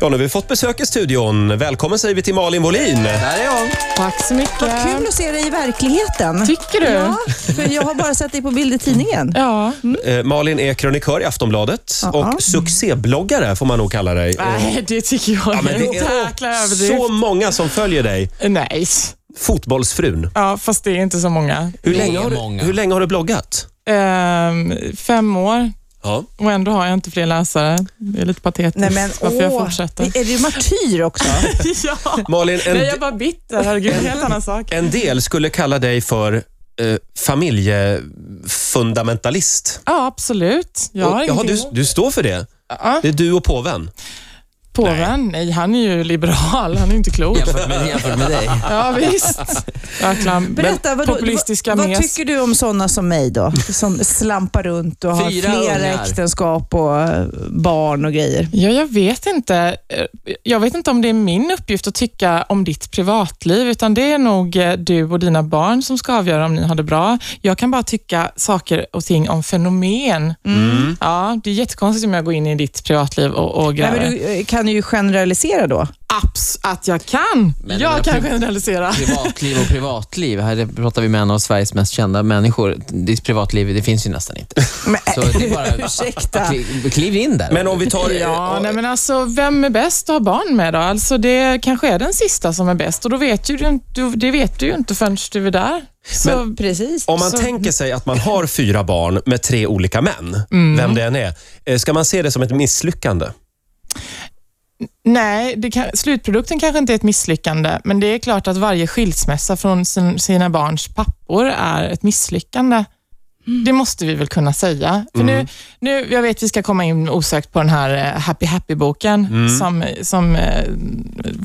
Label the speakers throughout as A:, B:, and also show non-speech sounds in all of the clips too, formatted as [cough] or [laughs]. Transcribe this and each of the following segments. A: Ja, nu har vi fått besök i studion. Välkommen säger vi till Malin Molin.
B: Där är jag.
C: Tack så mycket.
D: Kul att se dig i verkligheten.
C: Tycker du?
D: Ja, för jag har bara sett dig på bild i tidningen.
C: Ja.
A: Eh, Malin är krönikör i Aftonbladet
D: Ja.
A: och succébloggare får man nog kalla dig. Eh,
C: Nej, det tycker jag
A: ja, men
C: är en jäkla överdrift.
A: så många som följer dig.
C: Nej.
A: Fotbollsfrun.
C: Ja, fast det är inte så många.
A: Hur
B: Det är
A: länge, har du,
B: många.
A: hur länge har du bloggat?
C: Ehm, fem år
A: Ja.
C: och ändå har jag inte fler läsare. Det är lite patetiskt
D: Nej, men,
C: varför jag [laughs]
D: åh,
C: fortsätter.
D: Är du martyr också?
C: ja.
A: Malin, en,
C: Nej, jag är bara bitter. Herregud, helt annan sak.
A: en del skulle kalla dig för eh, familjefundamentalist.
C: Ja, absolut. Jag har
A: Och- jaha,
C: ingenting
A: du,
C: emot-
A: du står för det?
C: Ja,
A: Det är du och påven?
C: Påven, nej, han är ju liberal. Han är ju inte klok.
B: Jämfört med, jämfört med dig.
C: [laughs] Ja, visst. Jäkla
D: Berätta, vadå-
C: populistiska
D: vad,
C: mes.
D: vad tycker du om sådana som mig då? Som slampar runt och har
B: Fyra
D: flera
B: ungar.
D: äktenskap och eh, barn och grejer.
C: Ja, jag vet inte. Eh, Jag vet inte om det är min uppgift att tycka om ditt privatliv, utan det är nog eh, du och dina barn som ska avgöra om ni har det bra. Jag kan bara tycka saker och ting om fenomen. Ja, det är jättekonstigt om jag går in i ditt privatliv och, och
D: Nej,
C: gräver.
D: men du eh, kan ju generalisera då.
C: Abs, att jag kan!
B: Men det där
C: jag kan
B: pri-
C: generalisera.
B: Privatliv och privatliv. Här pratar vi med en av Sveriges mest kända människor. Ditt privatliv, det finns ju nästan inte.
D: Men,
B: Så det är bara
D: ursäkta.
B: kliv, kliv in där.
A: Men om vi tar...
C: Ja, nej men alltså, vem är bäst att ha barn med då? Alltså, det kanske är den sista som är bäst och då vet ju du, inte- det vet du ju inte förrän du är där. Så,
A: Men-
D: Precis.
A: Om man
C: Så-
A: tänker sig att man har fyra barn med tre olika män,
C: Mm.
A: vem det än är, eh, ska man se det som ett misslyckande?
C: Nej, det kan, slutprodukten kanske inte är ett misslyckande, men det är klart att varje skilsmässa från sin, sina barns pappor är ett misslyckande.
D: Mm.
C: Det måste vi väl kunna säga. För nu, nu, jag vet vi ska komma in osökt på den här eh, Happy Happy-boken,
D: Mm.
C: som, som eh,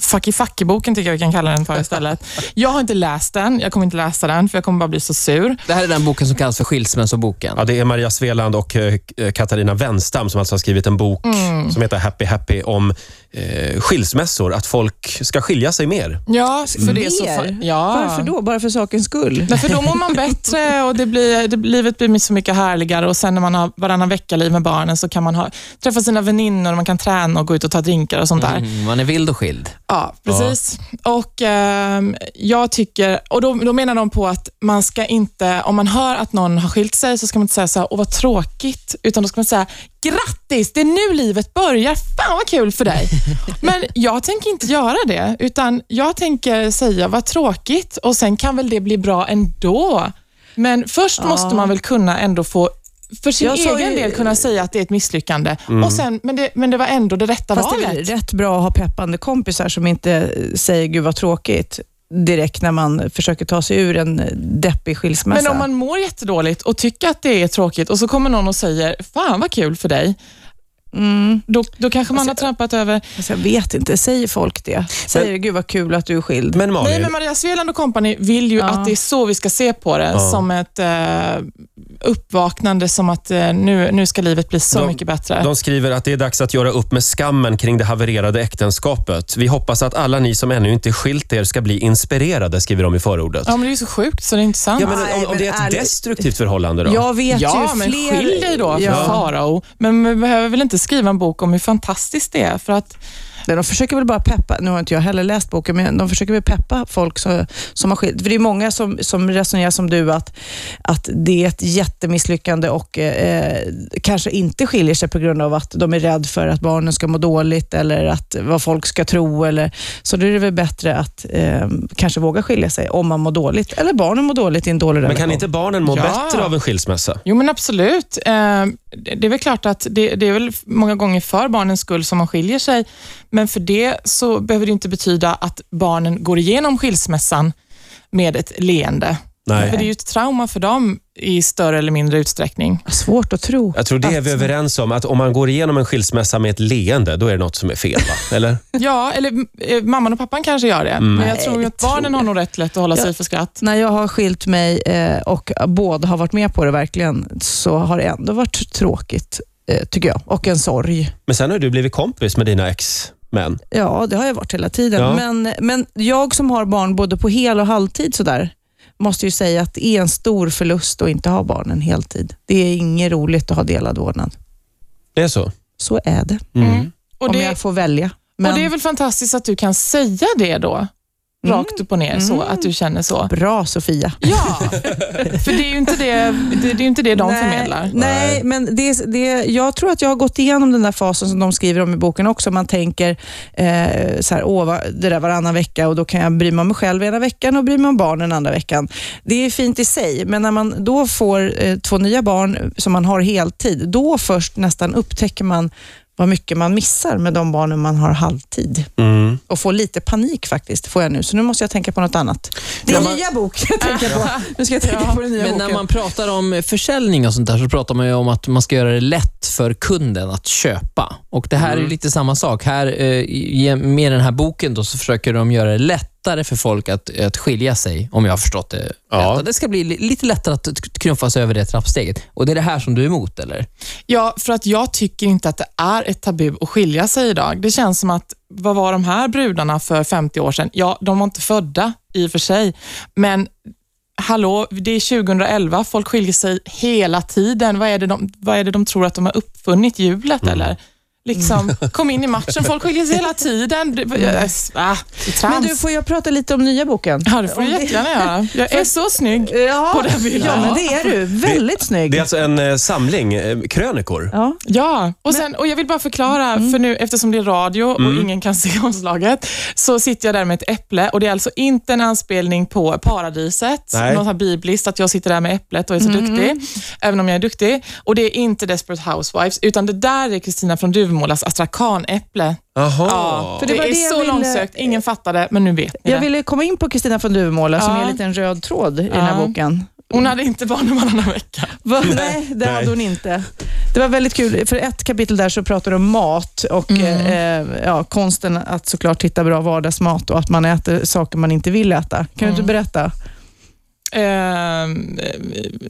C: Fucky Fucky-boken tycker jag vi kan kalla den för
D: [laughs]
C: istället. Jag har inte läst den, jag kommer inte läsa den, för jag kommer bara bli så sur.
B: Det här är den boken som kallas för Skilsmässoboken.
A: Ja, det är Maria Sveland och eh, Katarina Wenstam som alltså har skrivit en bok
C: Mm.
A: som heter Happy Happy om eh, skilsmässor, att folk ska skilja sig mer.
C: Ja, för det är så... fa-
D: Mer?
C: Ja.
D: Varför då? Bara för sakens [laughs] skull?
C: Nej, för då mår man bättre och det blir, det, livet blir så mycket härligare och sen när man har varannan vecka-liv med barnen så kan man ha, träffa sina väninnor, man kan träna och gå ut och ta drinkar och sånt där.
B: Mm, man är vild och skild.
C: Ja, precis. Och ehm, jag tycker, och då, då menar de på att man ska inte, om man hör att någon har skilt sig så ska man inte säga så här, åh vad tråkigt, utan då ska man säga, grattis, det är nu livet börjar, fan vad kul för
D: [laughs]
C: dig. Men jag tänker inte göra det, utan jag tänker säga, vad tråkigt, och sen kan väl det bli bra ändå. Men först måste man väl kunna ändå få för sin
D: Jag sa
C: egen
D: ju- Mm.
C: del kunna säga att det är ett misslyckande, och sen, men, det, men det var ändå det rätta
D: Fast det
C: valet.
D: är väl rätt bra att ha peppande kompisar som inte eh, säger gud vad tråkigt direkt när man försöker ta sig ur en deppig skilsmässa.
C: Men om man mår jättedåligt och tycker att det är tråkigt och så kommer någon och säger, fan vad kul för dig. Då, då kanske man har trampat över.
D: alltså, jag vet inte, säger folk det? Säger gud vad kul att du är skild?
A: Men Malin,
C: Nej, men Maria Sveland och kompani vill ju
D: Ja.
C: att det är så vi ska se på det, som ett eh, uppvaknande, som att eh, nu, nu ska livet bli så
A: De-
C: mycket bättre.
A: de skriver att det är dags att göra upp med skammen kring det havererade äktenskapet. Vi hoppas att alla ni som ännu inte skilt er ska bli inspirerade, skriver de i förordet.
C: ja, men det är ju så sjukt så det är inte sant.
A: Ja, men
D: Nej,
A: om, om
D: men
A: det är ett
D: ärligt.
A: destruktivt förhållande då?
D: Jag vet
C: Ja,
D: ju
C: men
D: fler...
C: skilj dig då från
D: Ja.
C: farao. Men vi behöver väl inte skriva en bok om hur fantastiskt det är, för att
D: De försöker väl bara peppa, nu har inte jag heller läst boken, men de försöker väl peppa folk som, som har skilt. För det är många som, som resonerar som du, att, att det är ett jättemisslyckande och eh, kanske inte skiljer sig på grund av att de är rädda för att barnen ska må dåligt eller att vad folk ska tro. Eller, så då är det väl bättre att eh, kanske våga skilja sig om man mår dåligt. Eller barnen mår dåligt i en dålig
A: Men
D: relation.
A: kan inte barnen må
C: Ja.
A: bättre av en skilsmässa?
C: Jo, men absolut. Eh, det- Det är väl klart att det, det är väl många gånger för barnens skull som man skiljer sig, men för det så behöver det inte betyda att barnen går igenom skilsmässan med ett leende.
A: Nej.
C: För det är ju ett trauma för dem i större eller mindre utsträckning.
D: Svårt att tro.
A: Jag tror det är vi överens om, att om man går igenom en skilsmässa med ett leende, då är det något som är fel,
C: [laughs]
A: va? Eller?
C: Ja, eller eh, mamman och pappan kanske gör det, men jag
D: Nej,
C: tror ju
D: det
C: att barnen
D: tror
C: har nog rätt lätt att hålla sig för skratt.
D: När jag har skilt mig eh, och båda har varit med på det verkligen, så har det ändå varit tråkigt, eh, tycker jag. Och en sorg.
A: Men sen har du blivit kompis med dina ex-män.
D: Ja, det har jag varit hela tiden.
A: Ja.
D: Men, men jag som har barn både på hel och halvtid sådär, måste ju säga att det är en stor förlust att inte ha barnen heltid. Det är inget roligt att ha delad vårdnad.
A: Det är så? Mm.
D: Så är det,
C: Mm. Och
D: om
C: det,
D: jag får välja. Men
C: Och Det är väl fantastiskt att du kan säga det då, rakt
D: Mm.
C: upp och ner, så att du känner så.
D: bra Sofia.
C: Ja, för det är ju inte det, det, det, är ju inte det de
D: nej,
C: förmedlar.
D: Nej, men det, är- det, är- jag tror att jag har gått igenom den där fasen som de skriver om i boken också. Man tänker eh, så här, Åh, va- det där varannan vecka och då kan jag bry mig om mig själv ena veckan och bry mig om barnen andra veckan. Det är fint i sig, men när man då får eh, två nya barn som man har heltid, då först nästan upptäcker man vad mycket man missar med de barnen man har halvtid.
A: Mm.
D: Och får lite panik faktiskt, får jag nu. Så nu måste jag tänka på något annat. Det är
A: Ja,
D: en
A: men-
D: nya bok jag tänker på. Nu ska jag tänka på den nya
B: Men
D: boken.
B: när man pratar om försäljning och sånt där så pratar man ju om att man ska göra det lätt för kunden att köpa. Och Det
D: Mm.
B: här är ju lite samma sak. Här, eh, i- med den här boken då, så försöker de göra det lättare för folk att, att skilja sig, om jag har förstått det
A: Ja.
B: rätt. Och Det ska bli li- lite lättare att t- trumfas över det trappsteget. Och Det är det här som du är emot, eller?
C: Ja, för att jag tycker inte att det är ett tabu att skilja sig idag. Det känns som att, vad var de här brudarna för 50 år sedan? Ja, de var inte födda i och för sig, men hallå, det är 2011, folk skiljer sig hela tiden. Vad är det de, vad är det de tror att de har uppfunnit hjulet eller? Liksom, kom in i matchen, folk skiljer sig hela tiden. Det- äh, ah, trams.
D: Men du, får jag prata lite om nya boken?
C: Ja, det får du
D: Om det-
C: jättegärna göra. Jag är så snygg.
D: Ja,
C: på den bilden.
D: ja men det är du. Väldigt snygg.
A: Det är alltså en eh, samling eh, krönikor.
D: ja.
C: Ja, och, sen, och jag vill bara förklara, för nu eftersom det är radio och ingen kan [laughs] se omslaget, så sitter jag där med ett äpple och det är alltså inte en anspelning på paradiset,
A: Nej.
C: något sånt här bibliskt, att jag sitter där med äpplet och är så duktig, även om jag är duktig. Och det är inte Desperate Housewives, umålas, utan det där är Kristina från Duvemålas astrakanäpple.
A: Jaha.
C: Ja,
D: För
C: för
D: det
C: det,
D: var
C: är
D: det jag
C: så
D: ville-
C: långsökt, ingen fattade, men nu vet ni
D: Jag
C: det.
D: ville komma in på Kristina från Duvemåla som
C: Ja.
D: är en liten röd tråd i den här
C: Ja.
D: boken.
C: Hon hade inte barn varannan vecka.
D: Va? Nej, det
A: Nej.
D: hade hon inte. Det var väldigt kul. För ett kapitel där så pratar de om mat och eh, eh, ja, konsten att såklart hitta bra vardagsmat och att man äter saker man inte vill äta. Kan du inte berätta?
C: Ehm,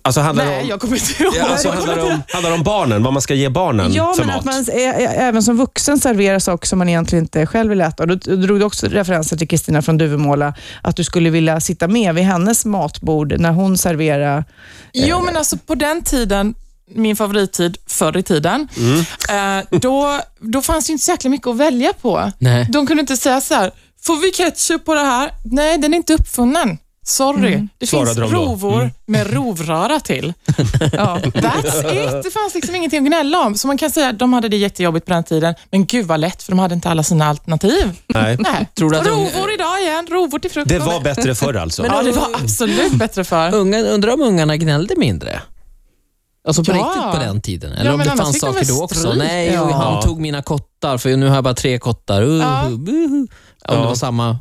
A: Alltså handlar det
C: nej,
A: om...
C: jag kommer inte ihåg.
A: Ja,
C: [laughs]
A: alltså, handlar, det om, handlar det om barnen? Vad man ska ge barnen
D: Ja,
A: för
D: men
A: mat?
D: att man ä, ä, även som vuxen serverar saker som man egentligen inte själv vill äta. Och Då t- drog du också referenser till Kristina från Duvemåla, att du skulle vilja sitta med vid hennes matbord när hon serverar.
C: Jo, men alltså på den tiden, min favorittid förr i tiden, eh, då, då fanns det ju inte så jäkla mycket att välja på.
B: Nej.
C: De kunde inte säga så här, får vi ketchup på det här? Nej, den är inte uppfunnen. Sorry. Det
A: Svarade de
C: finns
A: då.
C: rovor med rovröra till.
D: Ja.
C: That's it. Det fanns liksom ingenting att gnälla om. Så man kan säga att de hade det jättejobbigt på den tiden, men gud vad lätt, för de hade inte alla sina alternativ.
A: Nej.
C: Nej.
B: Tror du att de-
C: Rovor idag igen, rovor till frukost. [laughs]
A: Det var bättre förr alltså.
C: Ja, det var absolut bättre för.
B: Ungan, undrar om ungarna gnällde mindre? Alltså på
C: Ja.
B: riktigt på den tiden? Eller
C: Ja,
B: om
C: men
B: det
C: annars
B: fanns
C: fick de
B: saker
C: väl
B: då också?
C: stryk.
B: Nej,
D: Ja.
B: och han tog mina kottar för nu har jag bara tre kottar. Uh,
C: Ja.
B: uh, uh. Om det
A: Ja.
B: var samma...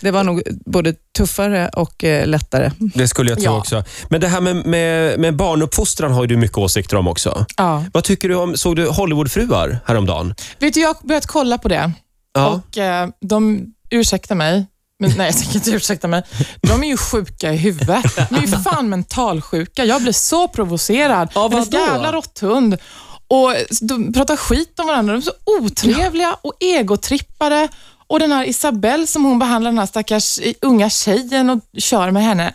D: Det var nog både tuffare och eh, lättare.
A: Det skulle jag tro
C: Ja.
A: också. Men det här med, med, med barnuppfostran har ju du mycket åsikter om också.
C: Ja.
A: Vad tycker du om, såg du Hollywoodfruar häromdagen?
C: Vet du, jag har börjat kolla på det.
A: Ja.
C: Och eh, de, ursäkta mig, men nej jag tänker inte ursäkta mig. De är ju sjuka i huvudet. De är ju fan mentalsjuka. Jag blir så provocerad.
B: Av
C: Men
B: vadå?
C: en jävla råtthund. Och de pratar skit om varandra. De är så otrevliga och egotrippade. Och den här Isabelle som hon behandlar, den här stackars eh, unga tjejen och kör med henne.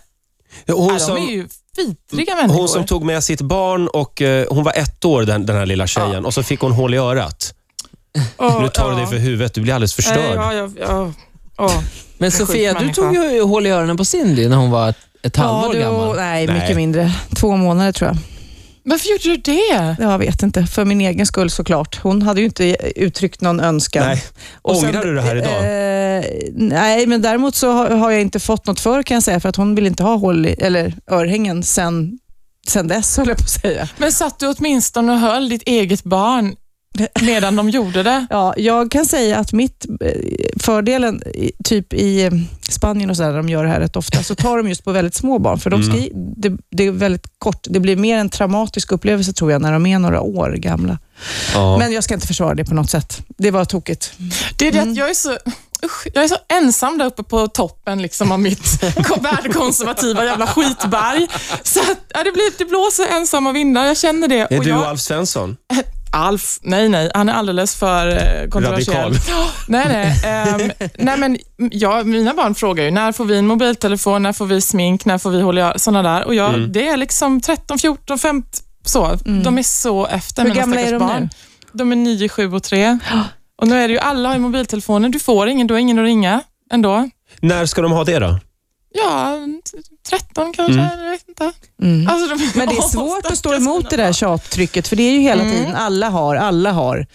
A: Hon,
C: Ja, de är
A: som, Mm,
C: ju vidriga människor.
A: hon som tog med sitt barn och eh, hon var ett år den, den här lilla tjejen och så fick hon hål i örat.
C: Åh,
A: Nu tar du
C: ja.
A: dig för huvudet, du blir alldeles
C: Nej,
A: förstörd.
C: Ja, ja, ja, ja.
B: Men
C: sjuk
B: Sofia, du
C: människa.
B: tog ju hål i öronen på Cindy när hon var ett, ett halvår
D: du-
B: gammal.
D: Nej,
A: Nej.
D: mycket mindre. Två månader tror jag.
C: Varför gjorde du det?
D: Jag vet inte. För min egen skull såklart. Hon hade ju inte uttryckt någon önskan.
A: Nej.
D: sen-
A: Ångrar du det här idag?
D: Eh, nej, men däremot så har, har jag inte fått något för kan jag säga, för att hon vill inte ha hål i, eller örhängen sen, sen dess, höll jag på att säga.
C: Men satt du åtminstone och höll ditt eget barn medan de gjorde det?
D: Ja, jag kan säga att mitt eh, fördelen, i- typ i eh, Spanien och sådär, där de gör det här rätt ofta, så tar de just på väldigt små barn, för de
A: Mm.
D: ska, i- det, det är väldigt kort. Det blir mer en traumatisk upplevelse tror jag, när de är några år gamla.
A: Ja.
D: Men jag ska inte försvara det på något sätt. Det var tokigt.
C: Det är det
A: Mm.
C: att jag är så... Usch, jag är så ensam där uppe på toppen liksom, av mitt [laughs] värdekonservativa jävla skitberg. Så att, ja, det, blir, det blåser ensamma vindar, jag känner det.
A: Är
C: och
A: du
C: jag,
A: och Alf Svensson?
C: Alf, nej nej, han är alldeles för eh, kontroversiell.
A: Radikal.
C: Nej, nej, ehm, nej men, m- ja, mina barn frågar ju, när får vi en mobiltelefon, när får vi smink, när får vi hålla sådana där? Och jag,
A: Mm.
C: Det är liksom 13, 14, 15, så. De är så efter
D: Mm. Hur
C: mina
D: gamla är
C: stackars
D: de nu?
C: barn. De är 9, 7 och 3. Och nu är det ju alla har ju mobiltelefoner. Du får ingen, du har ingen att ringa ändå.
A: När ska de ha det då?
C: Ja, 13 kanske,
A: Mm.
C: jag vet inte.
D: Mm.
C: Alltså, de- [laughs]
D: Men det är
C: Åh,
D: svårt att stå
C: stackars
D: emot det
C: mina
D: där tjattrycket, för det är ju hela
C: Mm.
D: tiden alla har, alla har.